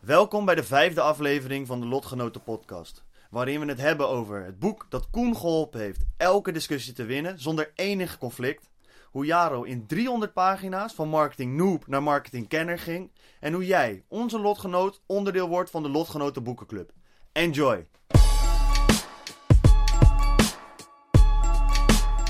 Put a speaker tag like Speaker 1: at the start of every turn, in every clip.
Speaker 1: Welkom bij de vijfde aflevering van de Lotgenoten Podcast. Waarin we het hebben over het boek dat Koen geholpen heeft elke discussie te winnen zonder enig conflict. Hoe Jaro in 300 pagina's van marketing noob naar marketing kenner ging. En hoe jij, onze lotgenoot, onderdeel wordt van de Lotgenoten Boekenclub. Enjoy!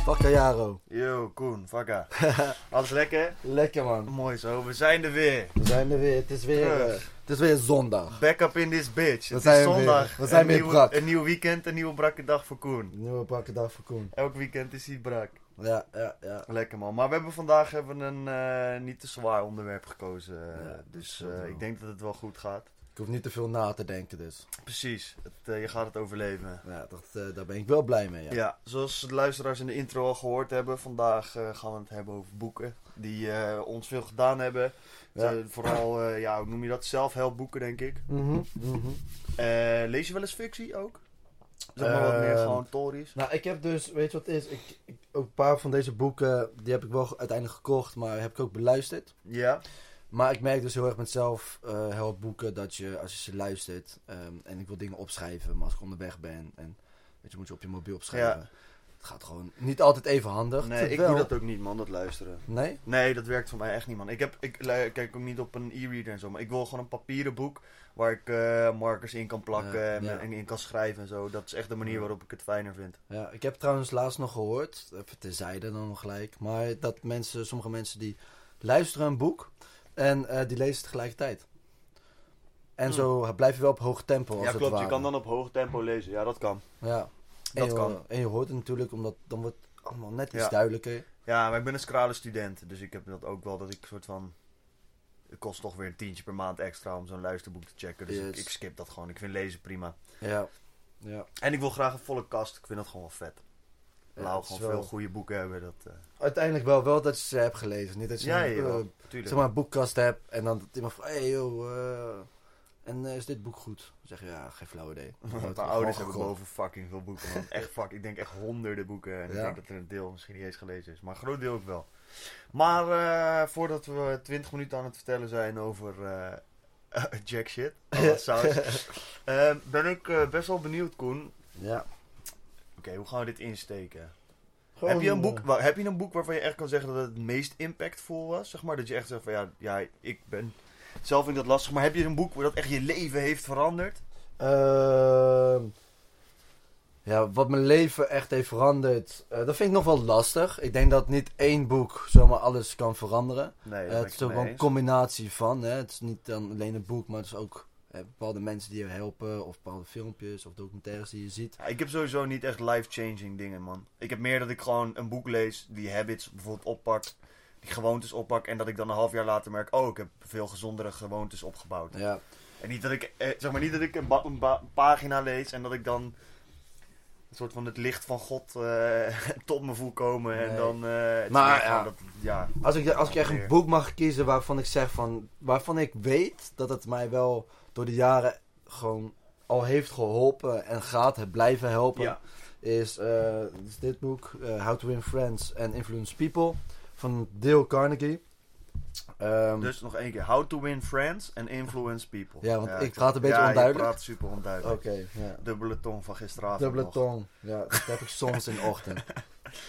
Speaker 2: Fuck Jaro.
Speaker 1: Yo, Koen, vakka. Alles lekker?
Speaker 2: Lekker man.
Speaker 1: Mooi zo, we zijn er weer.
Speaker 2: We zijn er weer. Het is weer, eh,
Speaker 1: Terug.
Speaker 2: het is weer zondag.
Speaker 1: Back up in this bitch.
Speaker 2: We
Speaker 1: Het
Speaker 2: zijn
Speaker 1: is
Speaker 2: weer.
Speaker 1: zondag.
Speaker 2: We zijn
Speaker 1: Een
Speaker 2: weer
Speaker 1: nieuwe-
Speaker 2: brak.
Speaker 1: Een nieuw weekend, een nieuwe brakke dag voor Koen.
Speaker 2: Nieuwe pakken dag voor Koen.
Speaker 1: Elk weekend is hij brak.
Speaker 2: Ja, ja, ja.
Speaker 1: Lekker man. Maar we hebben vandaag hebben we een eh, niet te zwaar onderwerp gekozen. eh,
Speaker 2: Ja,
Speaker 1: dus
Speaker 2: dat
Speaker 1: eh,
Speaker 2: wel.
Speaker 1: ik denk dat het wel goed gaat.
Speaker 2: Ik hoef niet te veel na te denken dus.
Speaker 1: Precies. Het, eh, je gaat het overleven.
Speaker 2: Ja, dat, eh, daar ben ik wel blij mee. Ja.
Speaker 1: Ja. zoals de luisteraars in de intro al gehoord hebben, vandaag eh, gaan we het hebben over boeken die eh, ons veel gedaan hebben.
Speaker 2: Ja.
Speaker 1: Eh, vooral, eh, ja, hoe noem je dat? Zelfhelpboeken, denk ik.
Speaker 2: Mhm, mhm.
Speaker 1: Eh, lees je wel eens fictie ook? Zeg maar wat meer
Speaker 2: Ehm,
Speaker 1: gewoon tories.
Speaker 2: Nou, ik heb dus, weet je wat het is? Ik, ik, ook een paar van deze boeken, die heb ik wel ge- uiteindelijk gekocht, maar heb ik ook beluisterd.
Speaker 1: Ja,
Speaker 2: Maar ik merk dus heel erg met zelf eh, helpboeken dat je, als je ze luistert, ehm, en ik wil dingen opschrijven, maar als ik onderweg ben, en weet je, moet je op je mobiel opschrijven. Het gaat gewoon niet altijd even handig.
Speaker 1: nee, ik doe
Speaker 2: Terwijl-
Speaker 1: dat ook niet man, dat luisteren.
Speaker 2: Nee?
Speaker 1: Nee, dat werkt voor mij echt niet, man. Ik, heb, ik lu- kijk ook niet op een e-reader en zo, maar ik wil gewoon een papieren boek waar ik eh, markers in kan plakken
Speaker 2: Ja,
Speaker 1: en,
Speaker 2: ja.
Speaker 1: en in kan schrijven en zo. Dat is echt de manier waarop ik het fijner vind.
Speaker 2: Ja, ik heb trouwens laatst nog gehoord, even terzijde dan nog gelijk, maar dat mensen, sommige mensen die luisteren een boek en eh, die lezen tegelijkertijd. En zo blijf je wel op hoog tempo als
Speaker 1: Hmm. ja,
Speaker 2: het
Speaker 1: klopt. Je
Speaker 2: ware.
Speaker 1: kan dan op hoog tempo lezen. Ja, dat kan.
Speaker 2: Ja, en
Speaker 1: Dat
Speaker 2: je,
Speaker 1: kan.
Speaker 2: En je hoort het natuurlijk, omdat dan wordt het allemaal net iets
Speaker 1: Ja.
Speaker 2: duidelijker.
Speaker 1: Ja, maar ik ben een scrale student, dus ik heb dat ook wel dat ik soort van... Het kost toch weer een tientje per maand extra om zo'n luisterboek te checken, dus ik,
Speaker 2: Yes.
Speaker 1: ik skip dat gewoon. Ik vind lezen prima.
Speaker 2: Ja. Ja.
Speaker 1: En ik wil graag een volle kast. Ik vind dat gewoon wel vet.
Speaker 2: Ja,
Speaker 1: Lauw,
Speaker 2: het is
Speaker 1: gewoon
Speaker 2: wel-
Speaker 1: veel goede boeken hebben. Dat, eh,
Speaker 2: Uiteindelijk wel, wel dat je ze hebt gelezen. Niet dat je
Speaker 1: ja,
Speaker 2: een,
Speaker 1: ja,
Speaker 2: eh,
Speaker 1: wel,
Speaker 2: zeg
Speaker 1: tuurlijk.
Speaker 2: maar, een boekkast hebt en dan dat iemand van, hey joh, eh, en eh, is dit boek goed? Dan zeg je, ja, geen flauw idee. Dan wordt
Speaker 1: Mijn
Speaker 2: het
Speaker 1: ouders
Speaker 2: gewoon
Speaker 1: hebben
Speaker 2: gekocht.
Speaker 1: boven fucking veel boeken, man. Echt fuck, ik denk echt honderden boeken. En ik
Speaker 2: Ja.
Speaker 1: denk dat er een deel misschien niet eens gelezen is. Maar een groot deel ook wel. Maar eh, voordat we 20 minuten aan het vertellen zijn over eh, jack shit, alle saus, eh, ben ik eh, best wel benieuwd, Koen.
Speaker 2: Ja.
Speaker 1: Oké, hoe gaan we dit insteken?
Speaker 2: Gewoon,
Speaker 1: heb, je een boek,
Speaker 2: eh,
Speaker 1: wa- heb je een boek waarvan je echt kan zeggen dat het het meest impactvol was? Zeg maar dat je echt zegt van ja, ja ik ben. Zelf vind ik dat lastig, maar heb je een boek waar dat echt je leven heeft veranderd?
Speaker 2: Ehm, ja, wat mijn leven echt heeft veranderd, eh, dat vind ik nog wel lastig. Ik denk dat niet één boek zomaar alles kan veranderen.
Speaker 1: Nee,
Speaker 2: Eh,
Speaker 1: dat
Speaker 2: het is ook wel een combinatie van. Hè? Het is niet dan alleen een boek, maar het is ook eh, bepaalde mensen die je helpen, of bepaalde filmpjes of documentaires die je ziet.
Speaker 1: Ja, ik heb sowieso niet echt life-changing dingen, man. Ik heb meer dat ik gewoon een boek lees, die habits bijvoorbeeld oppak, die gewoontes oppak, en dat ik dan een half jaar later merk, oh, ik heb veel gezondere gewoontes opgebouwd.
Speaker 2: Nou Ja,
Speaker 1: En niet dat ik, eh, zeg maar, niet dat ik een, ba- een ba- een pagina lees en dat ik dan een soort van het licht van God eh, tot me voel komen en
Speaker 2: Nee.
Speaker 1: dan... eh, het is
Speaker 2: Maar
Speaker 1: meer gewoon
Speaker 2: ja.
Speaker 1: Dat, ja.
Speaker 2: als ik, als ik echt een boek mag kiezen waarvan ik zeg van, waarvan ik weet dat het mij wel door de jaren gewoon al heeft geholpen en gaat het blijven helpen.
Speaker 1: ja.
Speaker 2: is, eh, is dit boek, eh, How to Win Friends and Influence People, van Dale Carnegie. Ehm,
Speaker 1: Dus nog één keer. How to win friends and influence people.
Speaker 2: Ja, want ik
Speaker 1: zeg-
Speaker 2: praat een beetje
Speaker 1: ja,
Speaker 2: onduidelijk.
Speaker 1: ik praat super
Speaker 2: Oké,
Speaker 1: onduidelijk.
Speaker 2: ja.
Speaker 1: Dubbele tong van gisteravond
Speaker 2: Dubbele
Speaker 1: nog.
Speaker 2: tong. Ja, dat heb ik soms in de ochtend.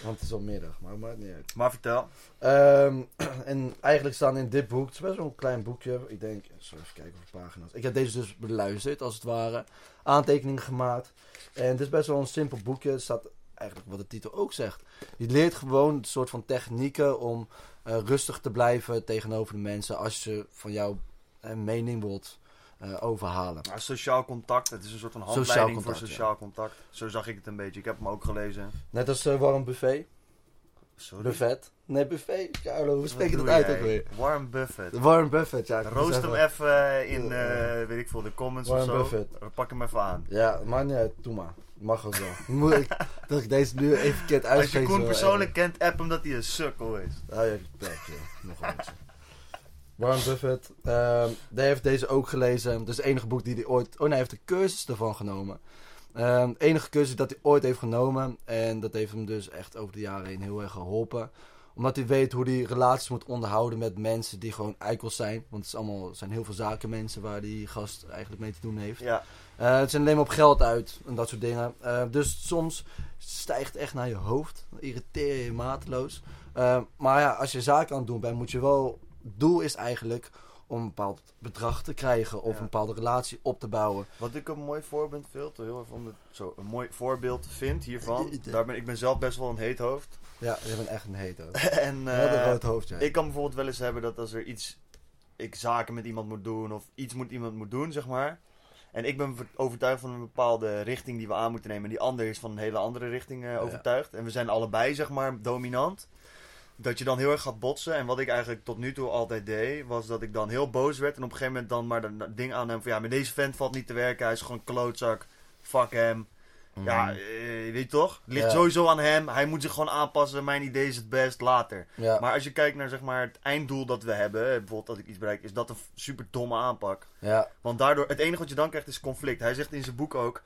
Speaker 2: Want het is al middag, maar maakt niet uit.
Speaker 1: Maar vertel.
Speaker 2: Ehm, en eigenlijk staan in dit boek, het is best wel een klein boekje. Ik denk, zo even kijken hoeveel pagina's. Ik heb deze dus beluisterd, als het ware. Aantekeningen gemaakt. En het is best wel een simpel boekje. Het staat eigenlijk wat de titel ook zegt. Je leert gewoon een soort van technieken om eh, rustig te blijven tegenover de mensen als je van jouw eh, mening wilt eh, overhalen.
Speaker 1: Ja, sociaal contact, het is een soort van
Speaker 2: Sociaal
Speaker 1: handleiding
Speaker 2: contact,
Speaker 1: voor sociaal contact. Zo zag ik het een beetje. Ik heb hem ook gelezen.
Speaker 2: Net als eh, Warm Buffet.
Speaker 1: Sorry.
Speaker 2: Buffet. Nee, buffet. Carlo, hoe
Speaker 1: Wat
Speaker 2: spreek je dat
Speaker 1: doe
Speaker 2: uit
Speaker 1: jij?
Speaker 2: ook weer?
Speaker 1: Warren Buffett.
Speaker 2: Warren Buffett, ja. ik moet
Speaker 1: Roost hem
Speaker 2: zeggen.
Speaker 1: even in, eh, weet ik veel, de comments
Speaker 2: Warren
Speaker 1: of zo.
Speaker 2: Buffett.
Speaker 1: Pak hem even aan.
Speaker 2: Ja, maar niet uit. Doe maar. Mag ook wel. Moet ik, dat ik deze nu even verkeerd
Speaker 1: Als
Speaker 2: uitspreek.
Speaker 1: je Koen
Speaker 2: is wel
Speaker 1: persoonlijk kent, app hem dat hij een sukkel is.
Speaker 2: erg. Hou je bek, joh. Nog een beetje. Warren Buffett, ehm, die heeft deze ook gelezen. Dat is het enige boek die hij ooit... Oh nee, hij heeft de cursus ervan genomen. Ehm, het enige cursus dat hij ooit heeft genomen. En dat heeft hem dus echt over de jaren heen heel erg geholpen. Omdat hij weet hoe hij relaties moet onderhouden met mensen die gewoon eikels zijn. Want het is allemaal, het zijn heel veel zakenmensen waar die gast eigenlijk mee te doen heeft.
Speaker 1: Ja.
Speaker 2: Eh, het zijn alleen maar op geld uit en dat soort dingen. Eh, dus soms stijgt echt naar je hoofd. Dan irriteer je je mateloos. Eh, maar ja, als je zaken aan het doen bent, moet je wel. Doel is eigenlijk om een bepaald bedrag te krijgen of
Speaker 1: Ja.
Speaker 2: een bepaalde relatie op te bouwen.
Speaker 1: Wat ik een mooi voorbeeld vind, heel even om de- zo, een mooi voorbeeld vind hiervan.
Speaker 2: Eten.
Speaker 1: Daar ben, ik ben zelf best wel een heet hoofd.
Speaker 2: Ja, je bent echt een heet ook.
Speaker 1: en eh,
Speaker 2: Wat een rood hoofd jij.
Speaker 1: ik kan bijvoorbeeld wel eens hebben dat als er iets, ik zaken met iemand moet doen of iets moet iemand moet doen, zeg maar. En ik ben ver- overtuigd van een bepaalde richting die we aan moeten nemen. En die ander is van een hele andere richting eh, overtuigd. En we zijn allebei, zeg maar, dominant. Dat je dan heel erg gaat botsen. En wat ik eigenlijk tot nu toe altijd deed, was dat ik dan heel boos werd. En op een gegeven moment dan maar dat- dat ding aanneem van ja, met deze vent valt niet te werken. Hij is gewoon een klootzak. Fuck hem. Ja, eh, weet je toch? Het ligt
Speaker 2: Ja.
Speaker 1: sowieso aan hem. Hij moet zich gewoon aanpassen. Mijn idee is het best. Later.
Speaker 2: Ja,
Speaker 1: Maar als je kijkt naar zeg maar, het einddoel dat we hebben, eh, bijvoorbeeld dat ik iets bereik, is dat een super domme aanpak.
Speaker 2: ja.
Speaker 1: Want daardoor, het enige wat je dan krijgt is conflict. Hij zegt in zijn boek ook.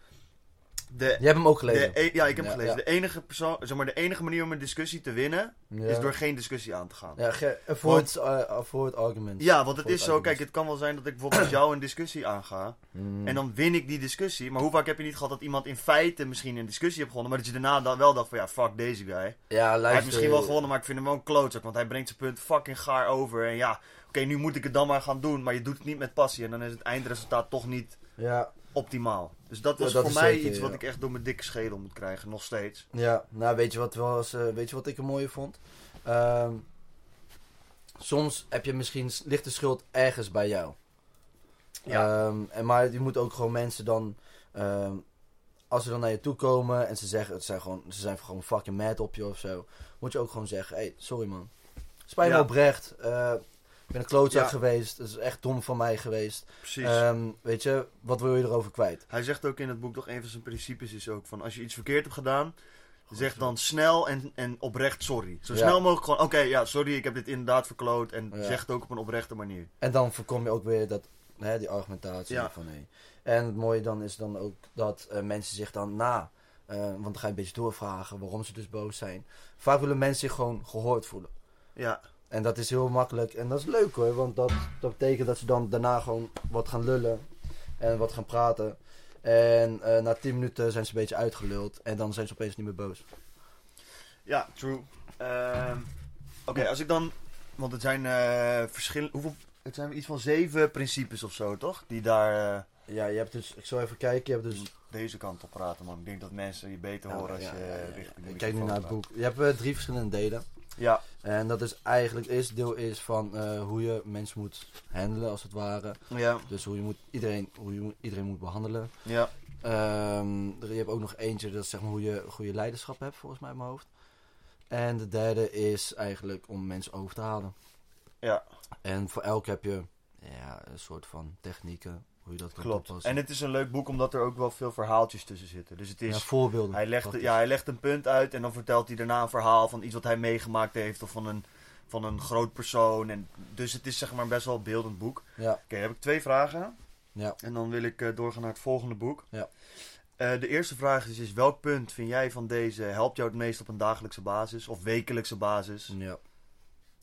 Speaker 1: De,
Speaker 2: Je hebt hem ook
Speaker 1: de
Speaker 2: gelezen.
Speaker 1: e- ja, ik heb
Speaker 2: Ja,
Speaker 1: gelezen.
Speaker 2: ja.
Speaker 1: De, enige persoon, zeg maar, de enige manier om een discussie te winnen,
Speaker 2: Ja.
Speaker 1: is door geen discussie aan te gaan. Ja,
Speaker 2: Ja, ge- avoid, eh, avoid argument.
Speaker 1: want het
Speaker 2: Goed,
Speaker 1: is zo,
Speaker 2: eigenlijk
Speaker 1: kijk, het kan wel zijn dat ik bijvoorbeeld met jou een discussie aanga.
Speaker 2: Mm.
Speaker 1: En dan win ik die discussie. Maar hoe vaak heb je niet gehad dat iemand in feite misschien een discussie heeft gewonnen, maar dat je daarna dan wel dacht van ja, fuck deze guy.
Speaker 2: Ja, luister.
Speaker 1: Hij heeft misschien wel gewonnen, maar ik vind hem wel een klootzak. Want hij brengt zijn punt fucking gaar over. En ja, oké, nu moet ik het dan maar gaan doen. Maar je doet het niet met passie. En dan is het eindresultaat toch niet
Speaker 2: Ja,
Speaker 1: optimaal. Dus dat was
Speaker 2: Ja, dat
Speaker 1: voor
Speaker 2: is
Speaker 1: mij
Speaker 2: zeker,
Speaker 1: iets
Speaker 2: ja.
Speaker 1: wat ik echt door mijn dikke schedel moet krijgen. Nog steeds.
Speaker 2: Ja, nou weet je wat, wel eens, eh, weet je wat ik een mooie vond? Ehm, soms heb je misschien s- ligt de schuld ergens bij jou.
Speaker 1: Ja.
Speaker 2: Ehm, en, maar je moet ook gewoon mensen dan. ehm, als ze dan naar je toe komen en ze zeggen het zijn gewoon, ze zijn gewoon fucking mad op je of zo. Moet je ook gewoon zeggen. Hé, hey, sorry man. Spijt me
Speaker 1: Ja.
Speaker 2: oprecht. eh, ik ben een klootzak
Speaker 1: Ja.
Speaker 2: geweest. Het is echt dom van mij geweest.
Speaker 1: Precies.
Speaker 2: Ehm, weet je, wat wil je erover kwijt?
Speaker 1: Eh, hij zegt ook in het boek, toch een van zijn principes is ook van... Als je iets verkeerd hebt gedaan, zeg dan snel en, en oprecht sorry. Zo
Speaker 2: Ja.
Speaker 1: snel mogelijk gewoon, oké, ja, sorry, ik heb dit inderdaad verkloot. En
Speaker 2: Ja.
Speaker 1: zeg het ook op een oprechte manier.
Speaker 2: En dan voorkom je ook weer dat, hè, die argumentatie
Speaker 1: Ja.
Speaker 2: van nee. En het mooie dan is dan ook dat eh, mensen zich dan na, eh, want dan ga je een beetje doorvragen waarom ze dus boos zijn. Vaak willen mensen zich gewoon gehoord voelen.
Speaker 1: Ja,
Speaker 2: En dat is heel makkelijk en dat is leuk hoor, want dat, dat betekent dat ze dan daarna gewoon wat gaan lullen en wat gaan praten. En eh, na 10 minuten zijn ze een beetje uitgeluld en dan zijn ze opeens niet meer boos.
Speaker 1: ja, true. Ehm, Oké, als ik dan... Want het zijn eh verschillende... Hoeveel... Het zijn iets van zeven principes of zo, toch? Die daar eh,
Speaker 2: Ja, je hebt dus, ik zal even kijken, je hebt dus...
Speaker 1: deze kant op praten, man. Ik denk dat mensen je beter horen als
Speaker 2: Ja,
Speaker 1: je
Speaker 2: ja, ja, ja.
Speaker 1: richting de
Speaker 2: Ik kijk nu
Speaker 1: microfoon
Speaker 2: naar het
Speaker 1: praat.
Speaker 2: boek. Je hebt eh, drie verschillende delen.
Speaker 1: Ja,
Speaker 2: En dat is eigenlijk het eerste deel is van eh, hoe je mensen moet handelen als het ware.
Speaker 1: ja,
Speaker 2: Dus hoe je moet iedereen, hoe je moet- iedereen moet behandelen.
Speaker 1: ja.
Speaker 2: Ehm, er- je hebt ook nog eentje dat is zeg maar hoe je goede leiderschap hebt volgens mij in mijn hoofd. En de derde is eigenlijk om mensen over te halen.
Speaker 1: Ja.
Speaker 2: En voor elk heb je ja, een soort van technieken hoe je dat kan
Speaker 1: Klopt.
Speaker 2: toepassen.
Speaker 1: En het is een leuk boek omdat er ook wel veel verhaaltjes tussen zitten. Dus het
Speaker 2: ja,
Speaker 1: is...
Speaker 2: voorbeelden.
Speaker 1: hij, legt,
Speaker 2: praktisch.
Speaker 1: ja, hij legt een punt uit en dan vertelt hij daarna een verhaal van iets wat hij meegemaakt heeft of van een, van een groot persoon. En, dus het is zeg maar best wel een beeldend boek. Oké,
Speaker 2: ja,
Speaker 1: heb ik twee vragen.
Speaker 2: ja.
Speaker 1: En dan wil ik eh, doorgaan naar het volgende boek.
Speaker 2: Ja.
Speaker 1: Eh, de eerste vraag is, is: welk punt vind jij van deze helpt jou het meest op een dagelijkse basis of wekelijkse basis?
Speaker 2: ja.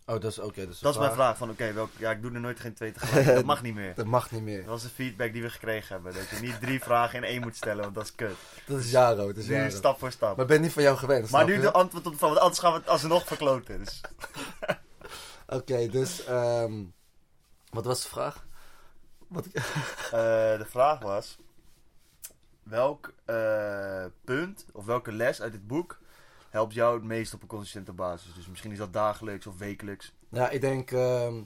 Speaker 2: Oh, dat is oké. dat is, de
Speaker 1: Dat is mijn vraag van oké, welk- ja, ik doe er nooit geen twee tegelijk. Dat mag niet meer.
Speaker 2: Dat mag niet
Speaker 1: Dat
Speaker 2: meer.
Speaker 1: was de feedback die we gekregen hebben. Dat je niet drie vragen in één moet stellen, want dat is kut.
Speaker 2: Dat is Jaro. Dat is
Speaker 1: Dus nu
Speaker 2: Jaro.
Speaker 1: stap voor stap.
Speaker 2: Maar
Speaker 1: Maar,
Speaker 2: ik ben niet van jou gewend. snap
Speaker 1: nu
Speaker 2: je?
Speaker 1: de antwoord op de vraag, want anders gaan we het alsnog verkloten. Dus.
Speaker 2: Oké, dus ehm, wat was de vraag? Wat, ik-
Speaker 1: Eh, de vraag was: welk eh, punt of welke les uit dit boek helpt jou het meest op een consistente basis? Dus misschien is dat dagelijks of wekelijks.
Speaker 2: ja, ik denk ehm,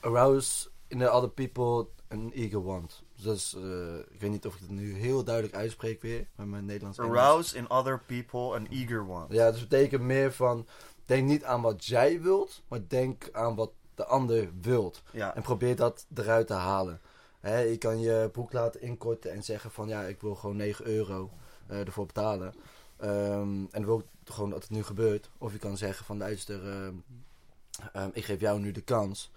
Speaker 2: arouse in the other people een eager want. Dus dat is, eh, ik weet niet of ik het nu heel duidelijk uitspreek weer, met mijn Nederlands Engels.
Speaker 1: Arouse in other people an eager one.
Speaker 2: Ja, dus betekent meer van, denk niet aan wat jij wilt, maar denk aan wat de ander wilt.
Speaker 1: Ja.
Speaker 2: En probeer dat eruit te halen. Hè, je kan je broek laten inkorten en zeggen van ja, ik wil gewoon 9 euro eh, ervoor betalen. Ehm, en dan wil ik gewoon dat het nu gebeurt. Of je kan zeggen van luister, ehm, ehm, ik geef jou nu de kans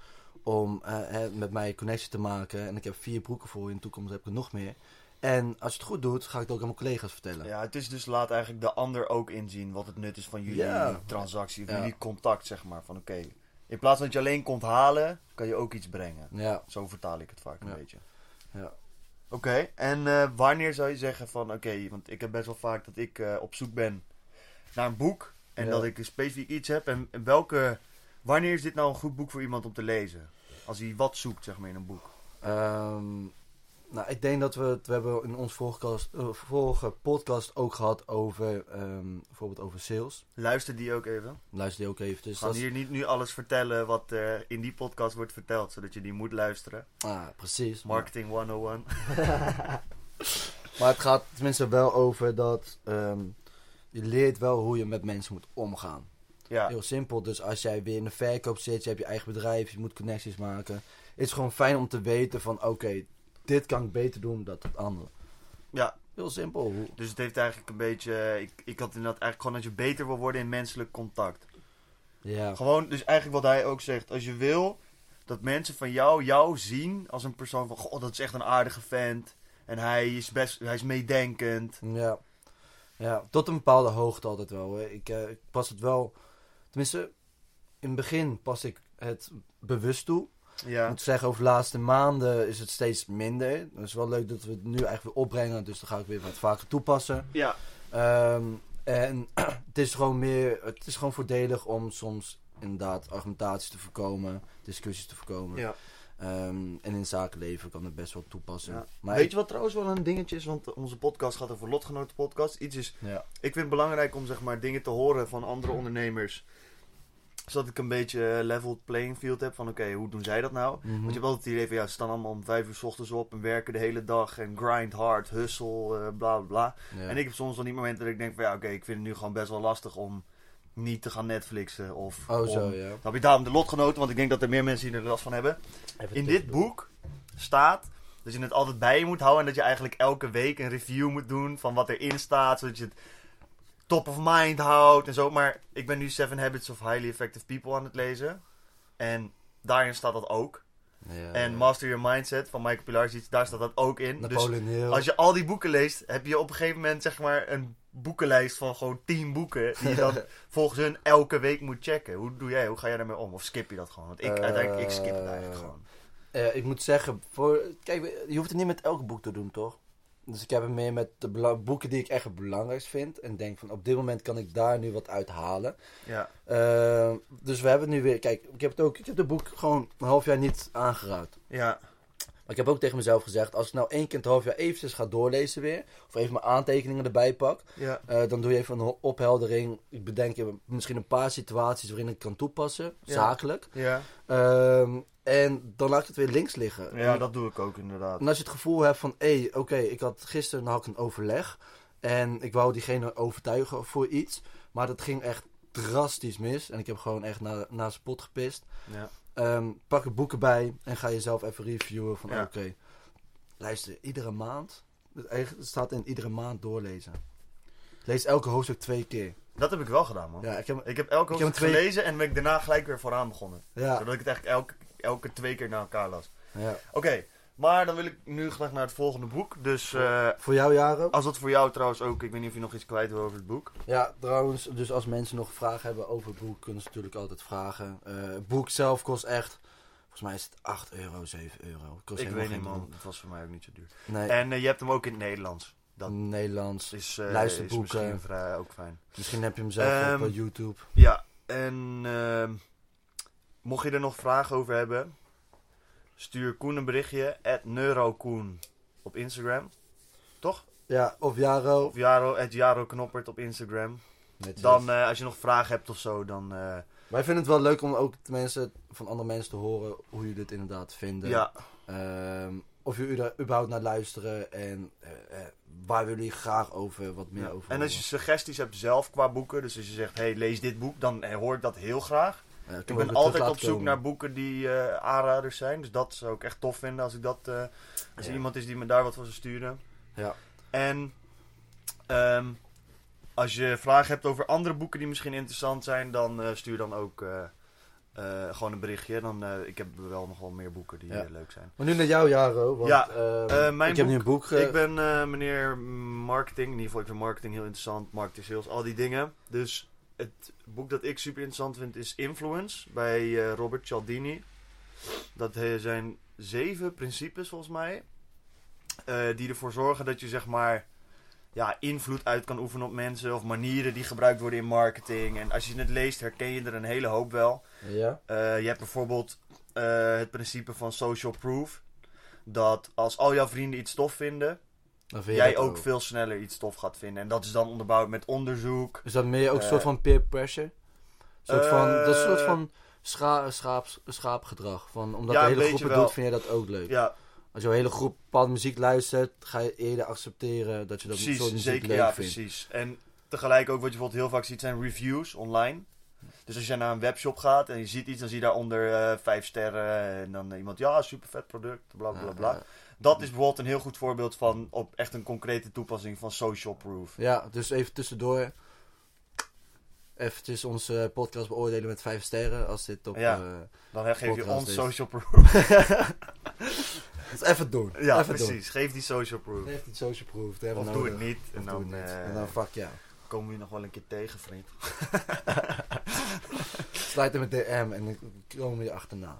Speaker 2: om eh, hè, met mij connectie te maken. En ik heb vier broeken voor je, in de toekomst heb ik er nog meer. En als je het goed doet, ga ik het ook aan mijn collega's vertellen.
Speaker 1: Ja, het is dus laat eigenlijk de ander ook inzien wat het nut is van jullie
Speaker 2: Ja.
Speaker 1: transactie, van
Speaker 2: Ja.
Speaker 1: jullie contact, zeg maar. Van oké, in plaats dat je alleen komt halen, kan je ook iets brengen.
Speaker 2: Ja,
Speaker 1: Zo vertaal ik het vaak een
Speaker 2: Ja.
Speaker 1: beetje.
Speaker 2: ja.
Speaker 1: Oké, en eh, wanneer zou je zeggen van oké, want ik heb best wel vaak dat ik eh, op zoek ben naar een boek en
Speaker 2: Ja.
Speaker 1: dat ik specifiek iets heb. En, en welke, wanneer is dit nou een goed boek voor iemand om te lezen? Als hij wat zoekt, zeg maar, in een boek.
Speaker 2: Ehm, nou, ik denk dat we het we hebben in ons vorige, kast- eh, vorige podcast ook gehad over ehm, bijvoorbeeld over sales.
Speaker 1: Luister die ook even.
Speaker 2: Luister die ook even. Dus
Speaker 1: We gaan
Speaker 2: dat is-
Speaker 1: hier niet nu alles vertellen wat eh, in die podcast wordt verteld, zodat je die moet luisteren.
Speaker 2: ah, precies.
Speaker 1: Marketing 101.
Speaker 2: Maar het gaat tenminste wel over dat ehm, je leert wel hoe je met mensen moet omgaan.
Speaker 1: Ja,
Speaker 2: Heel simpel. Dus als jij weer in de verkoop zit, je hebt je eigen bedrijf, je moet connecties maken. Het is gewoon fijn om te weten van oké, dit kan ik beter doen dan dat andere.
Speaker 1: ja.
Speaker 2: Heel simpel. Hoe-
Speaker 1: Dus het heeft eigenlijk een beetje. eh, Ik, ik had inderdaad eigenlijk gewoon dat je beter wil worden in menselijk contact.
Speaker 2: Ja.
Speaker 1: Gewoon, dus eigenlijk wat hij ook zegt. Als je wil dat mensen van jou jou zien als een persoon van... Goh, dat is echt een aardige vent. En hij is best... Hij is meedenkend.
Speaker 2: Ja. ja, tot een bepaalde hoogte altijd wel. hè. Ik, eh, ik pas het wel, tenminste, in het begin pas ik het bewust toe. Ik
Speaker 1: Ja.
Speaker 2: moet zeggen, over de laatste maanden is het steeds minder. Dat is wel leuk dat we het nu eigenlijk weer opbrengen, dus dan ga ik weer wat vaker toepassen.
Speaker 1: Ja.
Speaker 2: Ehm, en het is gewoon meer, het is gewoon voordelig om soms inderdaad argumentaties te voorkomen, discussies te voorkomen.
Speaker 1: ja.
Speaker 2: Ehm, en in het zakenleven kan het best wel toepassen. Maar
Speaker 1: Weet
Speaker 2: ik-
Speaker 1: je wat trouwens wel een dingetje is? Want eh, onze podcast gaat over lotgenotenpodcast. Iets is...
Speaker 2: Ja,
Speaker 1: Ik vind het belangrijk om zeg maar dingen te horen van andere ondernemers. Zodat ik een beetje eh, leveled playing field heb van oké, hoe doen zij dat nou?
Speaker 2: Mhm.
Speaker 1: Want je hebt altijd het idee van ja, ze staan allemaal om vijf uur 's ochtends op en werken de hele dag en grind hard, hustle, eh, bla bla bla.
Speaker 2: ja.
Speaker 1: En ik heb soms dan die momenten dat ik denk van ja, oké, ik vind het nu gewoon best wel lastig om niet te gaan Netflixen of...
Speaker 2: Oh,
Speaker 1: om-
Speaker 2: zo ja.
Speaker 1: Dan heb je daarom de lotgenoten, want ik denk dat er meer mensen die er last van hebben. In dit boek staat dat je het altijd bij je moet houden en dat je eigenlijk elke week een review moet doen van wat erin staat, zodat je het top of mind houdt en zo. Maar ik ben nu Seven Habits of Highly Effective People aan het lezen en daarin staat dat ook.
Speaker 2: Ja,
Speaker 1: En
Speaker 2: ja.
Speaker 1: Master Your Mindset van Michael Pilarczyk, daar staat dat ook in. Dus
Speaker 2: Napoleon Hill.
Speaker 1: als je al die boeken leest, heb je op een gegeven moment zeg maar een boekenlijst van gewoon 10 boeken die je dan volgens hun elke week moet checken. Hoe doe jij? Hoe ga jij daarmee om? Of skip je dat gewoon? Want ik,
Speaker 2: Eh,
Speaker 1: uiteindelijk, ik skip het eigenlijk gewoon.
Speaker 2: Eh, ik moet zeggen, voor, kijk, je hoeft het niet met elk boek te doen, toch? Dus ik heb het meer met de bela- boeken die ik echt het belangrijkst vind. En denk van, op dit moment kan ik daar nu wat uit halen.
Speaker 1: Ja.
Speaker 2: Eh, dus we hebben het nu weer, kijk, ik heb het ook, ik heb het boek gewoon een half jaar niet aangeraakt.
Speaker 1: Ja,
Speaker 2: Maar ik heb ook tegen mezelf gezegd, als ik nou één keer in het half jaar eventjes ga doorlezen weer. Of even mijn aantekeningen erbij pak.
Speaker 1: ja,
Speaker 2: Eh, dan doe je even een ho- opheldering. Ik bedenk je misschien een paar situaties waarin ik kan toepassen,
Speaker 1: Ja.
Speaker 2: zakelijk.
Speaker 1: ja.
Speaker 2: Ehm, en dan laat ik het weer links liggen.
Speaker 1: Ja, dat doe ik ook inderdaad.
Speaker 2: En als je het gevoel hebt van, hé, oké, ik had gisteren had ik een overleg. En ik wou diegene overtuigen voor iets. Maar dat ging echt drastisch mis. En ik heb gewoon echt na- naar zijn pot gepist.
Speaker 1: Ja.
Speaker 2: Ehm, pak er boeken bij en ga jezelf even reviewen van,
Speaker 1: Ja.
Speaker 2: oké. luister, iedere maand. Het eigen- het staat in iedere maand doorlezen. Lees elke hoofdstuk twee keer.
Speaker 1: Dat heb ik wel gedaan, man.
Speaker 2: Ja, ik heb...
Speaker 1: Ik heb elke
Speaker 2: Ik heb
Speaker 1: hoofdstuk
Speaker 2: twee-
Speaker 1: gelezen en ben ik daarna gelijk weer vooraan begonnen.
Speaker 2: Ja,
Speaker 1: Zodat ik het eigenlijk elke, elke twee keer naar elkaar las.
Speaker 2: ja.
Speaker 1: Oké, maar dan wil ik nu graag naar het volgende boek. Dus eh,
Speaker 2: Voor jou, Jaro?
Speaker 1: als dat voor jou trouwens ook... Ik weet niet of je nog iets kwijt wil over het boek.
Speaker 2: Ja, trouwens, dus als mensen nog vragen hebben over het boek, kunnen ze natuurlijk altijd vragen. Eh, het boek zelf kost echt, volgens mij is het 8 euro, 7 euro. Het kost
Speaker 1: Ik
Speaker 2: helemaal
Speaker 1: weet niet,
Speaker 2: geen
Speaker 1: man. Het was voor mij ook niet zo duur.
Speaker 2: bron. Nee,
Speaker 1: En eh, je hebt hem ook in het Nederlands. Dat
Speaker 2: Nederlands.
Speaker 1: is, eh,
Speaker 2: Luisterboeken.
Speaker 1: is misschien vrij, ook fijn.
Speaker 2: Misschien heb je hem zelf
Speaker 1: Ehm,
Speaker 2: op eh, YouTube.
Speaker 1: Ja, en ehm, mocht je er nog vragen over hebben, stuur Koen een berichtje, at neurokoen op Instagram. Toch?
Speaker 2: Ja, of Jaro.
Speaker 1: Of Jaro, at Jaro Knoppert op Instagram.
Speaker 2: Met
Speaker 1: Dan,
Speaker 2: zes.
Speaker 1: eh, als je nog vragen hebt of zo, dan... eh,
Speaker 2: Wij vinden het wel leuk om ook de mensen, van andere mensen te horen hoe jullie dit inderdaad vinden.
Speaker 1: ja,
Speaker 2: Ehm, of jullie er überhaupt naar luisteren en eh, eh, waar willen jullie graag over wat meer
Speaker 1: Ja.
Speaker 2: over
Speaker 1: En als je suggesties hebt zelf qua boeken, dus als je zegt, hey, lees dit boek, dan eh, hoor ik dat heel graag.
Speaker 2: horen? Eh,
Speaker 1: Ik
Speaker 2: kunnen we
Speaker 1: ben
Speaker 2: weer terug
Speaker 1: altijd
Speaker 2: laten
Speaker 1: op zoek
Speaker 2: komen.
Speaker 1: naar boeken die eh, aanraders zijn, dus dat zou ik echt tof vinden als ik dat, eh, als er
Speaker 2: Ja.
Speaker 1: iemand is die me daar wat van zou sturen.
Speaker 2: Ja.
Speaker 1: En ehm, als je vragen hebt over andere boeken die misschien interessant zijn, dan eh, stuur dan ook eh, eh, gewoon een berichtje. Dan, eh, ik heb wel nog wel meer boeken die
Speaker 2: Ja.
Speaker 1: eh, leuk zijn.
Speaker 2: Maar nu naar jou, Jaro. Want,
Speaker 1: Ja,
Speaker 2: ehm,
Speaker 1: eh, mijn
Speaker 2: ik heb nu
Speaker 1: boek-
Speaker 2: een boek. eh,
Speaker 1: Ik ben eh, meneer marketing. In ieder geval, ik vind marketing heel interessant. Marketing, sales, al die dingen. Dus het boek dat ik super interessant vind is Influence bij eh, Robert Cialdini. Dat eh, zijn zeven principes volgens mij. eh, die ervoor zorgen dat je zeg maar ja, invloed uit kan oefenen op mensen. Of manieren die gebruikt worden in marketing. En als je het leest herken je er een hele hoop wel.
Speaker 2: Ja.
Speaker 1: Eh, je hebt bijvoorbeeld eh, het principe van social proof. Dat als al jouw vrienden iets tof vinden,
Speaker 2: Dan vind je
Speaker 1: jij
Speaker 2: dat
Speaker 1: ook, veel sneller iets tof gaat vinden. En dat is dan onderbouwd met onderzoek.
Speaker 2: Is dat meer ook een
Speaker 1: Eh,
Speaker 2: soort van peer pressure? Een soort van, dat is een soort
Speaker 1: eh,
Speaker 2: van scha schaap- schaapgedrag. Van, omdat
Speaker 1: Ja,
Speaker 2: de
Speaker 1: een
Speaker 2: hele
Speaker 1: beetje
Speaker 2: groep het
Speaker 1: wel.
Speaker 2: doet, vind jij dat ook leuk.
Speaker 1: Ja,
Speaker 2: Als jouw hele groep bepaalde muziek luistert, ga je eerder accepteren dat je dat
Speaker 1: precies.
Speaker 2: soort muziek
Speaker 1: Zeker,
Speaker 2: leuk
Speaker 1: ja,
Speaker 2: vindt.
Speaker 1: precies. En tegelijk ook wat je bijvoorbeeld heel vaak ziet zijn reviews online. Dus als je naar een webshop gaat en je ziet iets, dan zie je daaronder eh, vijf sterren. En dan iemand, ja, super vet product, bla bla
Speaker 2: Ja,
Speaker 1: bla.
Speaker 2: ja.
Speaker 1: Dat is bijvoorbeeld een heel goed voorbeeld van op echt een concrete toepassing van social proof.
Speaker 2: Ja, dus even tussendoor. Eventjes onze eh, podcast beoordelen met vijf sterren. Als dit op...
Speaker 1: Ja.
Speaker 2: eh,
Speaker 1: Dan geef je
Speaker 2: Podcast
Speaker 1: ons
Speaker 2: is-
Speaker 1: social proof.
Speaker 2: dus even doen.
Speaker 1: Ja,
Speaker 2: even doen.
Speaker 1: precies. Geef die social proof.
Speaker 2: Heeft iets social proof. dat hebben
Speaker 1: Of
Speaker 2: we
Speaker 1: doe
Speaker 2: nodig.
Speaker 1: het niet. En
Speaker 2: nou, Of doe het
Speaker 1: dan,
Speaker 2: niet.
Speaker 1: eh,
Speaker 2: En dan fuck ja.
Speaker 1: komen we je nog wel een keer tegen, vriend.
Speaker 2: Sluit hem met DM en dan komen we je achterna.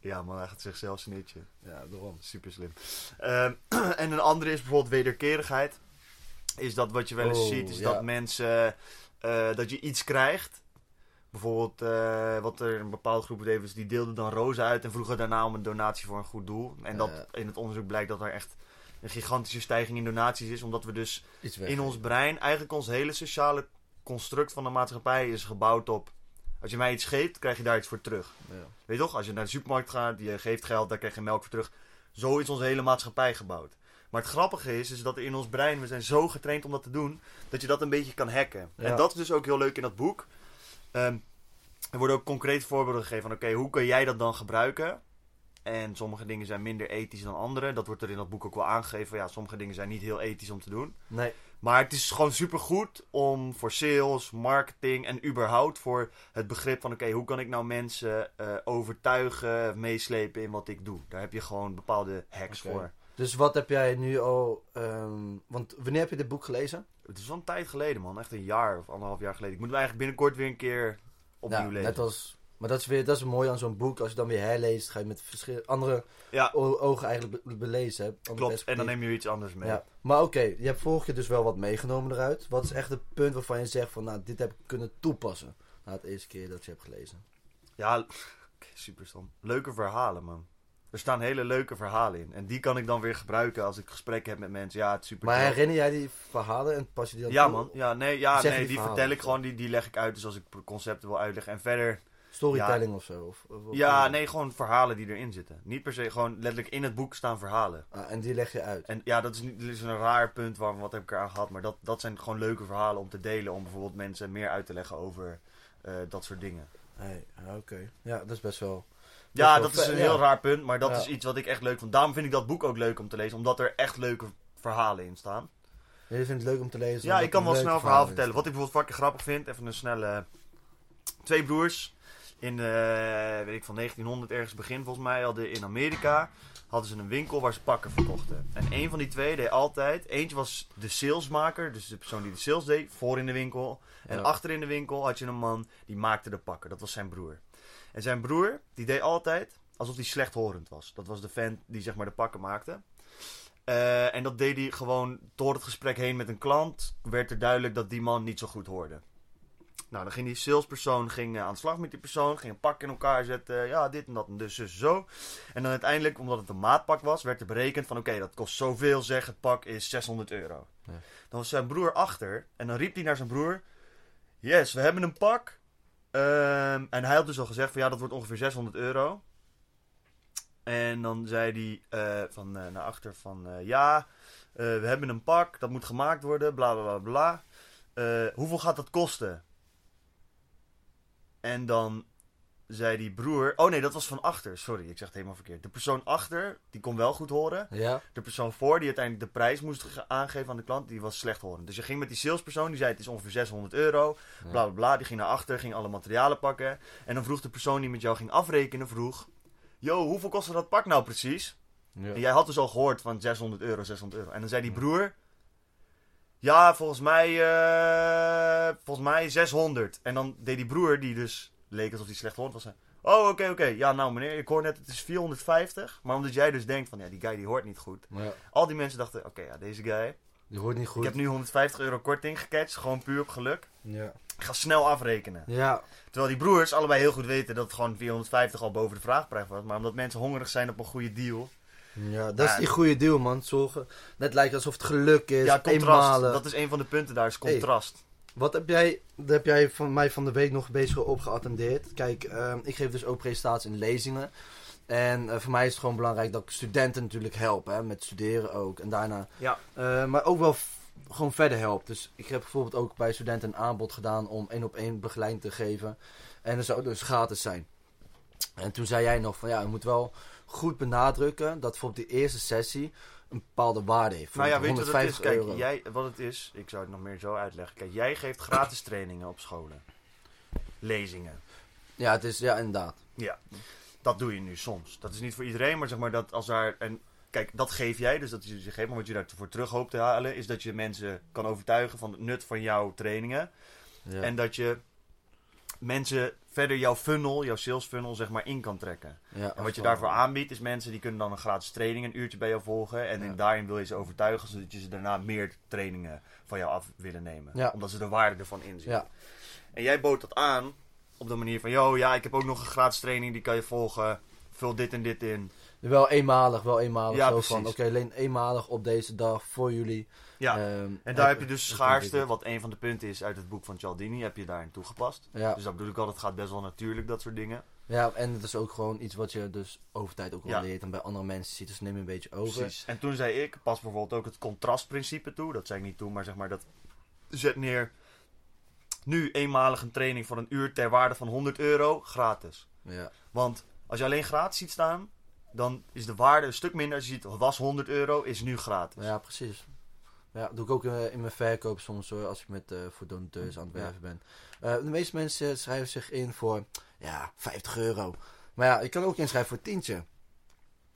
Speaker 1: Ja, maar hij gaat zichzelf snitchen.
Speaker 2: Ja, daarom.
Speaker 1: Super slim. Ehm, en een andere is bijvoorbeeld wederkerigheid. Is dat wat je wel eens
Speaker 2: Oh,
Speaker 1: ziet, is
Speaker 2: ja.
Speaker 1: dat mensen... eh, dat je iets krijgt. Bijvoorbeeld, eh, wat er een bepaalde groep deed, was die deelde dan rozen uit en vroegen daarna om een donatie voor een goed doel. En dat
Speaker 2: Ja.
Speaker 1: in het onderzoek blijkt dat er echt een gigantische stijging in donaties is, omdat we dus
Speaker 2: Iets weg.
Speaker 1: in ons brein, eigenlijk ons hele sociale construct van de maatschappij is gebouwd op. Als je mij iets geeft, krijg je daar iets voor terug.
Speaker 2: Ja.
Speaker 1: Weet je toch? Als je naar de supermarkt gaat, je geeft geld, daar krijg je melk voor terug. Zo is onze hele maatschappij gebouwd. Maar het grappige is, is dat in ons brein, we zijn zo getraind om dat te doen, dat je dat een beetje kan hacken.
Speaker 2: Ja.
Speaker 1: En dat is dus ook heel leuk in dat boek. Ehm, er worden ook concreet voorbeelden gegeven van, oké, hoe kun jij dat dan gebruiken? En sommige dingen zijn minder ethisch dan andere. Dat wordt er in dat boek ook wel aangegeven. van, Ja, sommige dingen zijn niet heel ethisch om te doen.
Speaker 2: Nee.
Speaker 1: Maar het is gewoon supergoed om voor sales, marketing en überhaupt voor het begrip van... oké, hoe kan ik nou mensen eh, overtuigen, meeslepen in wat ik doe? Daar heb je gewoon bepaalde hacks
Speaker 2: Oké.
Speaker 1: voor.
Speaker 2: Dus wat heb jij nu al... ehm, want wanneer heb je dit boek gelezen?
Speaker 1: Het is wel een tijd geleden, man. Echt een jaar of anderhalf jaar geleden. Ik moet hem eigenlijk binnenkort weer een keer opnieuw
Speaker 2: Nou,
Speaker 1: lezen.
Speaker 2: Net als... Maar dat is weer dat is mooi aan zo'n boek. Als je dan weer herleest, ga je met verschil, andere
Speaker 1: Ja.
Speaker 2: o- ogen eigenlijk be- belezen. hè. Ander
Speaker 1: Klopt, en
Speaker 2: perspectief.
Speaker 1: dan neem je weer iets anders mee.
Speaker 2: Ja. Maar oké, je hebt vorige keer dus wel wat meegenomen eruit. Wat is echt het punt waarvan je zegt van, nou, dit heb ik kunnen toepassen. Na het eerste keer dat je hebt gelezen.
Speaker 1: Ja, oké, super stom. Leuke verhalen, man. Er staan hele leuke verhalen in. En die kan ik dan weer gebruiken als ik gesprekken heb met mensen. Ja, het is super
Speaker 2: Maar
Speaker 1: tof.
Speaker 2: herinner jij die verhalen en pas je die dan
Speaker 1: Ja,
Speaker 2: toe?
Speaker 1: man. Ja, nee, ja,
Speaker 2: Zeg je
Speaker 1: nee die
Speaker 2: die verhalen
Speaker 1: vertel ik
Speaker 2: of
Speaker 1: gewoon, die, die leg ik uit. Dus als ik concepten wil uitleggen. En verder,
Speaker 2: Storytelling of zo? Of, of- of-
Speaker 1: ja, nee, gewoon verhalen die erin zitten. Niet per se, gewoon letterlijk in het boek staan verhalen.
Speaker 2: Ah, en die leg je uit.
Speaker 1: En ja, dat is, niet, dat is een raar punt, waar, wat heb ik eraan gehad. Maar dat, dat zijn gewoon leuke verhalen om te delen. Om bijvoorbeeld mensen meer uit te leggen over eh, dat soort dingen.
Speaker 2: Hey, ah, oké. Ja, dat is best wel...
Speaker 1: Ja,
Speaker 2: wel
Speaker 1: dat is
Speaker 2: vet,
Speaker 1: een
Speaker 2: ja.
Speaker 1: heel raar punt. Maar dat
Speaker 2: Ja.
Speaker 1: is iets wat ik echt leuk vond. Daarom vind ik dat boek ook leuk om te lezen. Omdat er echt leuke verhalen in staan.
Speaker 2: Je vindt het leuk om te lezen.
Speaker 1: Ja,
Speaker 2: omdat
Speaker 1: ik kan
Speaker 2: het
Speaker 1: wel
Speaker 2: een
Speaker 1: snel
Speaker 2: leuk
Speaker 1: een verhaal vertellen. Wat ik bijvoorbeeld fucking grappig vind, even een snelle... eh, Twee broers in, eh weet ik van 1900 ergens begin volgens mij, hadden in Amerika... hadden ze een winkel waar ze pakken verkochten. En een van die twee deed altijd... Eentje was de salesmaker, dus de persoon die de sales deed, voor in de winkel. En
Speaker 2: Ja.
Speaker 1: achter in de winkel had je een man die maakte de pakken. Dat was zijn broer. En zijn broer, die deed altijd alsof hij slechthorend was. Dat was de fan die zeg maar de pakken maakte. Eh, en dat deed hij gewoon door het gesprek heen met een klant. Werd er duidelijk dat die man niet zo goed hoorde. Nou, dan ging die salespersoon ging, eh, aan de slag met die persoon. Ging een pak in elkaar zetten. Ja, dit en dat en dus, dus zo. En dan uiteindelijk, omdat het een maatpak was, werd er berekend van... Oké, dat kost zoveel, zeg het pak is 600 euro.
Speaker 2: Ja.
Speaker 1: Dan was zijn broer achter. En dan riep hij naar zijn broer... Yes, we hebben een pak. Ehm, en hij had dus al gezegd van ja, dat wordt ongeveer 600 euro. En dan zei hij eh, van, eh, naar achter van eh, ja, eh, we hebben een pak, dat moet gemaakt worden, bla bla bla bla. Eh, hoeveel gaat dat kosten? En dan zei die broer, oh nee, dat was van achter, sorry, ik zeg het helemaal verkeerd. De persoon achter, die kon wel goed horen.
Speaker 2: Ja.
Speaker 1: De persoon voor, die uiteindelijk de prijs moest ge- aangeven aan de klant, die was slecht horend. Dus je ging met die salespersoon, die zei het is ongeveer 600 euro, bla bla bla. Die ging naar achter, ging alle materialen pakken. En dan vroeg de persoon die met jou ging afrekenen, vroeg... Yo, hoeveel kostte dat pak nou precies? En jij had dus al gehoord van 600 euro, 600 euro. En dan zei die broer... Ja, volgens mij, eh, volgens mij 600. En dan deed die broer, die dus leek alsof hij slecht horend was... zei, Oh, oké, oké. Ja, nou meneer, ik hoor net het is 450. Maar omdat jij dus denkt van, ja, die guy die hoort niet goed.
Speaker 2: Ja,
Speaker 1: Al die mensen dachten, oké, ja, deze guy.
Speaker 2: die hoort niet
Speaker 1: Ik
Speaker 2: goed.
Speaker 1: heb nu 150 euro korting gecatcht, gewoon puur op geluk.
Speaker 2: Ja.
Speaker 1: Ik ga snel afrekenen.
Speaker 2: Ja.
Speaker 1: Terwijl die broers allebei heel goed weten dat het gewoon 450 al boven de vraagprijs was. Maar omdat mensen hongerig zijn op een goede deal.
Speaker 2: ja, dat is
Speaker 1: Ja.
Speaker 2: die goede deal, man. Zorgen. Net lijkt alsof het geluk is.
Speaker 1: ja, contrast.
Speaker 2: eenmalig.
Speaker 1: Dat is een van de punten daar, is contrast.
Speaker 2: Wat heb jij, daar heb jij van mij van de week nog bezig op geattendeerd? Kijk, ehm, ik geef dus ook presentaties in lezingen. En eh, voor mij is het gewoon belangrijk dat ik studenten natuurlijk help, hè, met studeren ook. En daarna,
Speaker 1: Ja.
Speaker 2: eh, maar ook wel f- gewoon verder help. Dus ik heb bijvoorbeeld ook bij studenten een aanbod gedaan om één op één begeleiding te geven. En dat zou dus gratis zijn. En toen zei jij nog van ja, je moet wel goed benadrukken dat bijvoorbeeld die eerste sessie een bepaalde waarde heeft.
Speaker 1: Nou ja, weet je wat het is?
Speaker 2: 150
Speaker 1: Kijk,
Speaker 2: euro.
Speaker 1: jij, wat het is, ik zou het nog meer zo uitleggen. Kijk, jij geeft gratis trainingen op scholen. Lezingen.
Speaker 2: Ja, het is, ja, inderdaad.
Speaker 1: Ja, dat doe je nu soms. Dat is niet voor iedereen, maar zeg maar dat als daar. En kijk, dat geef jij, dus dat is je geeft. Maar wat je daarvoor terug hoopt te halen, is dat je mensen kan overtuigen van het nut van jouw trainingen.
Speaker 2: Ja.
Speaker 1: En dat je mensen verder jouw funnel, jouw sales funnel, zeg maar in kan trekken.
Speaker 2: ja,
Speaker 1: En wat je
Speaker 2: afstand.
Speaker 1: daarvoor aanbiedt, is mensen die kunnen dan een gratis training een uurtje bij jou volgen. En
Speaker 2: Ja.
Speaker 1: in daarin wil je ze overtuigen, zodat je ze daarna meer trainingen van jou af willen nemen.
Speaker 2: Ja.
Speaker 1: Omdat ze de waarde ervan inzien.
Speaker 2: Ja,
Speaker 1: En jij bood dat aan op de manier van: yo, ja, ik heb ook nog een gratis training, die kan je volgen. Vul dit en dit in.
Speaker 2: wel eenmalig, wel eenmalig.
Speaker 1: Ja,
Speaker 2: zo van, oké,
Speaker 1: precies.
Speaker 2: alleen eenmalig op deze dag voor jullie.
Speaker 1: Ja.
Speaker 2: Ehm,
Speaker 1: en daar heb je
Speaker 2: eh,
Speaker 1: dus
Speaker 2: dat
Speaker 1: schaarste,
Speaker 2: vind ik
Speaker 1: wat een van de punten is uit het boek van Cialdini, heb je daarin toegepast.
Speaker 2: het. Ja,
Speaker 1: Dus dat bedoel ik al, het gaat best wel natuurlijk, dat soort dingen.
Speaker 2: ja, en het is ook gewoon iets wat je dus over tijd ook wel
Speaker 1: Ja.
Speaker 2: leert en bij andere mensen ziet. Dus neem je een beetje over.
Speaker 1: En toen zei ik, pas bijvoorbeeld ook het contrastprincipe toe. Dat zei ik niet toe, maar zeg maar dat zet neer. Nu eenmalig een training voor een uur ter waarde van 100 euro, gratis.
Speaker 2: Ja,
Speaker 1: Want als je alleen gratis ziet staan, dan is de waarde een stuk minder. Als je ziet, was 100 euro, is nu gratis.
Speaker 2: Nou ja precies. Ja, doe ik ook eh, in mijn verkoop soms hoor, als ik met, eh, voor donateurs aan het
Speaker 1: Ja.
Speaker 2: werven ben. Eh, de meeste mensen schrijven zich in voor, ja, 50 euro. Maar ja, je kan ook inschrijven voor tientje.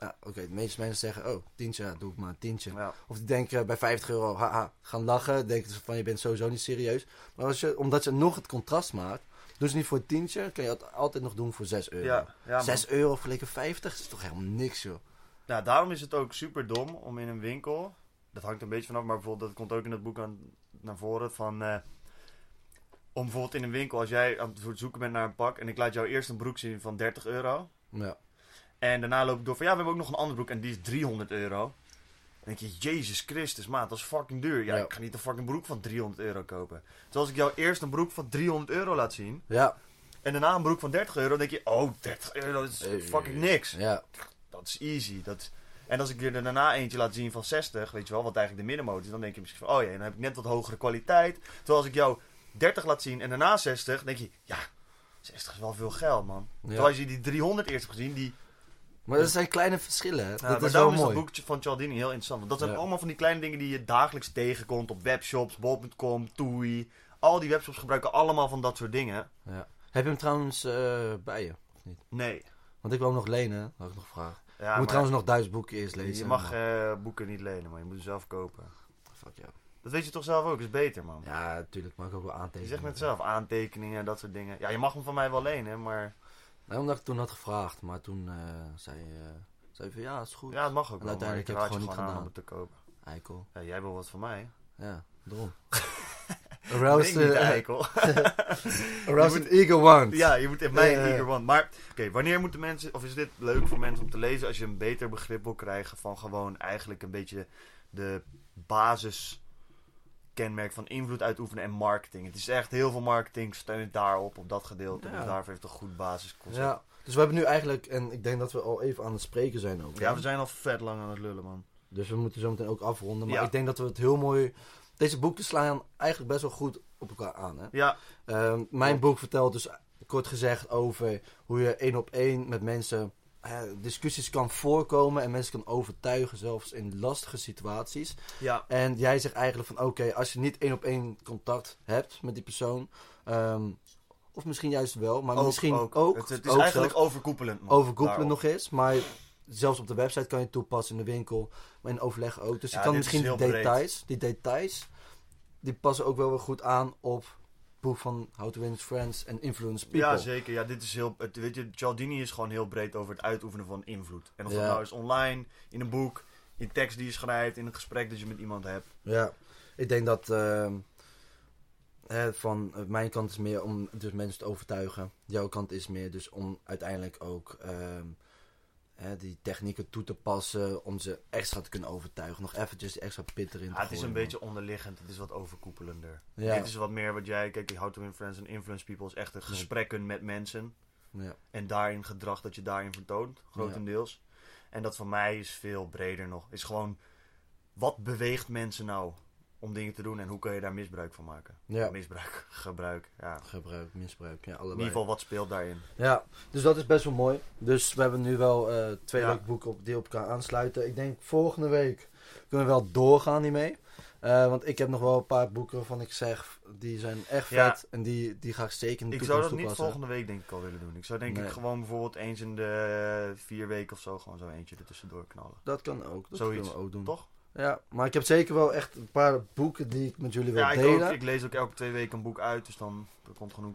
Speaker 2: Ja, oké, de meeste mensen zeggen, oh, tientje, ja, doe ik maar een tientje.
Speaker 1: Ja.
Speaker 2: Of die denken eh, bij 50 euro, haha, gaan lachen. Denken ze van, je bent sowieso niet serieus. Maar als je, omdat je nog het contrast maakt, dus niet voor een tientje, kan je het altijd nog doen voor 6 euro.
Speaker 1: Ja, ja, man.
Speaker 2: 6 euro vergeleken 50 is toch helemaal niks, joh.
Speaker 1: Nou, daarom is het ook super dom om in een winkel. Dat hangt een beetje vanaf, maar bijvoorbeeld, dat komt ook in het boek aan, naar voren. Van, eh, om bijvoorbeeld in een winkel, als jij aan het zoeken bent naar een pak. en ik laat jou eerst een broek zien van 30 euro.
Speaker 2: Ja,
Speaker 1: En daarna loop ik door van ja, we hebben ook nog een andere broek en die is 300 euro. Dan denk je, Jezus Christus, maat, dat is fucking duur. Ja,
Speaker 2: Ja.
Speaker 1: ik ga niet een fucking broek van 300 euro kopen. Terwijl als ik jou eerst een broek van 300 euro laat zien.
Speaker 2: ja,
Speaker 1: En daarna een broek van 30 euro, denk je, oh, 30 euro dat is
Speaker 2: Hey.
Speaker 1: fucking niks.
Speaker 2: ja.
Speaker 1: Dat is easy. Dat is- En als ik je er daarna eentje laat zien van 60, weet je wel, wat eigenlijk de middenmoot is, dan denk je misschien van, oh ja, dan heb ik net wat hogere kwaliteit. Terwijl als ik jou 30 laat zien en daarna 60, denk je, ja, 60 is wel veel geld, man. Terwijl als je die 300 eerst hebt gezien, die... Nou,
Speaker 2: Maar dat zijn kleine verschillen, hè.
Speaker 1: maar
Speaker 2: dat is wel
Speaker 1: daarom is
Speaker 2: mooi.
Speaker 1: dat boekje van Cialdini heel interessant. Want dat zijn
Speaker 2: Ja.
Speaker 1: allemaal van die kleine dingen die je dagelijks tegenkomt op webshops, bol.com, Toei. Al die webshops gebruiken allemaal van dat soort dingen.
Speaker 2: Ja. Heb je hem trouwens eh, bij je?
Speaker 1: Nee.
Speaker 2: Want ik wil hem nog lenen, dat had ik nog gevraagd.
Speaker 1: Ja,
Speaker 2: Ik
Speaker 1: maar-
Speaker 2: moet trouwens nog duizend boeken eerst lezen.
Speaker 1: Je mag eh, boeken niet lenen, maar je moet ze zelf kopen.
Speaker 2: Fuck ja.
Speaker 1: Dat weet je toch zelf ook, is beter, man.
Speaker 2: Ja, natuurlijk, mag ik ook wel
Speaker 1: je
Speaker 2: aantekenen.
Speaker 1: zegt met zelf aantekeningen, dat soort dingen. Ja, je mag hem van mij wel lenen, maar
Speaker 2: Nee, omdat ik toen had gevraagd, maar toen eh, zei, eh, zei hij van ja, is goed.
Speaker 1: ja, het mag ook
Speaker 2: En
Speaker 1: wel. maar
Speaker 2: uiteindelijk
Speaker 1: ik
Speaker 2: heb ik
Speaker 1: raad je
Speaker 2: gewoon
Speaker 1: gewoon
Speaker 2: niet
Speaker 1: aan om
Speaker 2: gedaan.
Speaker 1: het te kopen.
Speaker 2: Eikel.
Speaker 1: Ja, jij wil wat van mij.
Speaker 2: Ja, daarom.
Speaker 1: Dat
Speaker 2: Aroused,
Speaker 1: is niet,
Speaker 2: eh,
Speaker 1: eikel.
Speaker 2: aroused an eager want.
Speaker 1: ja, je moet in mij
Speaker 2: Eh.
Speaker 1: eager one. Maar, oké, wanneer moeten mensen... Of is dit leuk voor mensen om te lezen als je een beter begrip wil krijgen van gewoon eigenlijk een beetje de basis kenmerk van invloed uitoefenen en marketing. Het is echt heel veel marketing steunt daarop, op dat gedeelte.
Speaker 2: Ja.
Speaker 1: Dus daarvoor heeft het een goed basisconcept.
Speaker 2: Ja. Dus Dus we hebben nu eigenlijk, en ik denk dat we al even aan het spreken zijn ook.
Speaker 1: Ja, we zijn al vet lang aan het lullen, man.
Speaker 2: Dus we moeten zo meteen ook afronden. Maar
Speaker 1: Ja.
Speaker 2: ik denk dat we het heel mooi. Deze boeken slaan eigenlijk best wel goed op elkaar aan. Hè?
Speaker 1: Ja,
Speaker 2: Ehm, mijn boek vertelt dus kort gezegd over hoe je één op één met mensen eh, discussies kan voorkomen en mensen kan overtuigen, zelfs in lastige situaties.
Speaker 1: ja.
Speaker 2: En jij zegt eigenlijk van oké, als je niet één op één contact hebt met die persoon, ehm, of misschien juist wel, maar
Speaker 1: Ook,
Speaker 2: Oh, misschien ook,
Speaker 1: ook. het, het is
Speaker 2: ook
Speaker 1: eigenlijk
Speaker 2: zelfs
Speaker 1: overkoepelend. man.
Speaker 2: overkoepelen
Speaker 1: Daarop.
Speaker 2: nog eens. Maar zelfs op de website kan je het toepassen, in de winkel, maar in overleg ook. Dus je
Speaker 1: Ja,
Speaker 2: kan
Speaker 1: dit is
Speaker 2: misschien die
Speaker 1: heel breed.
Speaker 2: details, die details, die passen ook wel weer goed aan op het boek van How to Win Friends en Influence People.
Speaker 1: Ja, zeker. Ja, dit is heel, het, weet je, Cialdini is gewoon heel breed over het uitoefenen van invloed. En of dat
Speaker 2: Ja.
Speaker 1: nou is online, in een boek, in tekst die je schrijft, in een gesprek dat je met iemand hebt.
Speaker 2: Ja, ik denk dat ehm, hè, van eh, mijn kant is meer om dus mensen te overtuigen. Jouw kant is meer dus om uiteindelijk ook ehm, hè, die technieken toe te passen om ze extra te kunnen overtuigen. Nog eventjes die extra pit erin te
Speaker 1: Ja, het is een
Speaker 2: gooien,
Speaker 1: beetje onderliggend, het is wat overkoepelender.
Speaker 2: man. Ja,
Speaker 1: Dit is wat meer wat jij, kijk, How to Influence en Influence People is echt de gesprekken met mensen.
Speaker 2: ja,
Speaker 1: En daarin gedrag dat je daarin vertoont, grotendeels. En dat van mij is veel breder nog. Is gewoon, wat beweegt mensen nou om dingen te doen en hoe kun je daar misbruik van maken?
Speaker 2: ja.
Speaker 1: Misbruik, gebruik, ja.
Speaker 2: Gebruik, misbruik, ja,
Speaker 1: In
Speaker 2: allebei.
Speaker 1: ieder geval, wat speelt daarin?
Speaker 2: Ja, dus dat is best wel mooi. Dus we hebben nu wel eh, twee
Speaker 1: Ja.
Speaker 2: leuke boeken op, die op elkaar aansluiten. Ik denk volgende week kunnen we wel doorgaan hiermee. Eh, want ik heb nog wel een paar boeken waarvan ik zeg, die zijn echt vet.
Speaker 1: Ja.
Speaker 2: En die, die ga ik zeker in de
Speaker 1: Ik zou dat
Speaker 2: toekomst
Speaker 1: niet
Speaker 2: toepassen.
Speaker 1: volgende week denk ik al willen doen. Ik zou denk
Speaker 2: Nee.
Speaker 1: ik gewoon bijvoorbeeld eens in de vier weken of zo gewoon zo eentje er tussendoor knallen.
Speaker 2: Dat kan ook. Dat
Speaker 1: Zoiets,
Speaker 2: kunnen we ook doen.
Speaker 1: Toch?
Speaker 2: Ja, maar ik heb zeker wel echt een paar boeken die ik met jullie wil
Speaker 1: Ja, ik,
Speaker 2: delen.
Speaker 1: ook, ik lees ook elke twee weken een boek uit, dus dan er komt genoeg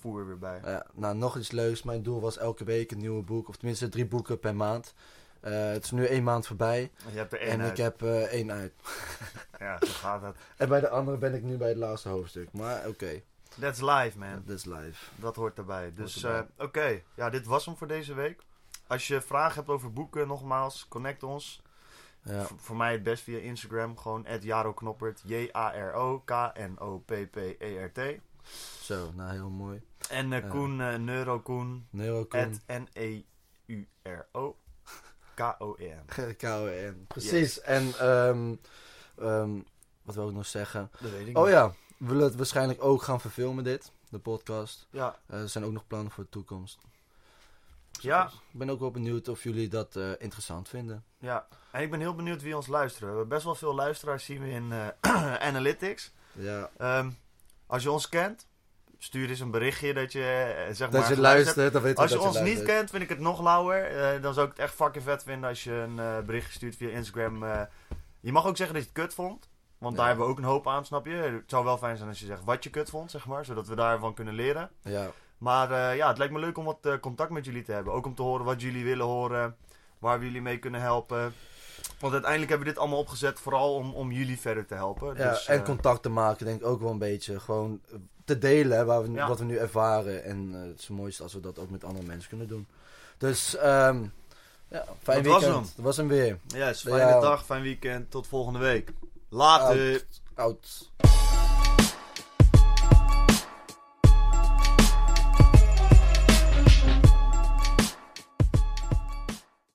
Speaker 1: voer weer bij.
Speaker 2: Ja, nou, nog iets leuks. Mijn doel was elke week een nieuwe boek. Of tenminste drie boeken per maand. Eh, het is nu één maand voorbij.
Speaker 1: Je hebt er
Speaker 2: en
Speaker 1: één uit.
Speaker 2: ik heb eh, één uit.
Speaker 1: Ja, zo gaat het.
Speaker 2: En bij de andere ben ik nu bij het laatste hoofdstuk. Maar oké,
Speaker 1: That's live, man.
Speaker 2: dat is live.
Speaker 1: Dat hoort erbij. Dus
Speaker 2: erbij.
Speaker 1: eh, oké, ja, dit was hem voor deze week. Als je vragen hebt over boeken, nogmaals, connect ons.
Speaker 2: Ja.
Speaker 1: V- voor mij het best via Instagram, gewoon Jaro Knoppert. J-A-R-O-K-N-O-P-P-E-R-T.
Speaker 2: Zo, nou heel mooi.
Speaker 1: E En eh,
Speaker 2: Ja.
Speaker 1: Koen, eh, Neurokoen,
Speaker 2: Neurocoon.
Speaker 1: at E N-E-U-R-O. K-O-E-N.
Speaker 2: KON. Precies. En ehm, ehm, wat wil ik nog zeggen?
Speaker 1: Dat weet ik
Speaker 2: Oh
Speaker 1: niet.
Speaker 2: ja, we willen het waarschijnlijk ook gaan verfilmen dit. De podcast.
Speaker 1: Ja.
Speaker 2: Eh, er zijn ook nog plannen voor de toekomst.
Speaker 1: Ja.
Speaker 2: Dus ik ben ook wel benieuwd of jullie dat eh, interessant vinden.
Speaker 1: ja. En ik ben heel benieuwd wie ons luisteren. We hebben best wel veel luisteraars zien we in eh, Analytics.
Speaker 2: Ja.
Speaker 1: Ehm, als je ons kent, stuur eens een berichtje dat je eh, zeg maar...
Speaker 2: Dat je
Speaker 1: geluisterd
Speaker 2: luistert, dan weten we
Speaker 1: Als je
Speaker 2: dat je
Speaker 1: ons niet
Speaker 2: luistert.
Speaker 1: kent, vind ik het nog lauwer. Eh, dan zou ik het echt fucking vet vinden als je een eh, berichtje stuurt via Instagram. eh. je mag ook zeggen dat je het kut vond. Want daar
Speaker 2: Ja.
Speaker 1: hebben we ook een hoop aan, snap je? Het zou wel fijn zijn als je zegt wat je kut vond, zeg maar. Zodat we daarvan kunnen leren.
Speaker 2: Ja.
Speaker 1: Maar eh, ja, het lijkt me leuk om wat eh, contact met jullie te hebben. Ook om te horen wat jullie willen horen. Waar we jullie mee kunnen helpen. Want uiteindelijk hebben we dit allemaal opgezet vooral om, om jullie verder te helpen.
Speaker 2: Ja,
Speaker 1: dus,
Speaker 2: en
Speaker 1: eh,
Speaker 2: contact te maken, denk ik ook wel een beetje. Gewoon eh, te delen hè, waar we,
Speaker 1: Ja.
Speaker 2: wat we nu ervaren. En eh, het is het mooiste als we dat ook met andere mensen kunnen doen. Dus, ehm ja, fijn
Speaker 1: Dat was
Speaker 2: weekend.
Speaker 1: hem.
Speaker 2: Dat was hem weer.
Speaker 1: yes, fijne
Speaker 2: Ja.
Speaker 1: dag, fijn weekend. Tot volgende week. Later.
Speaker 2: Out.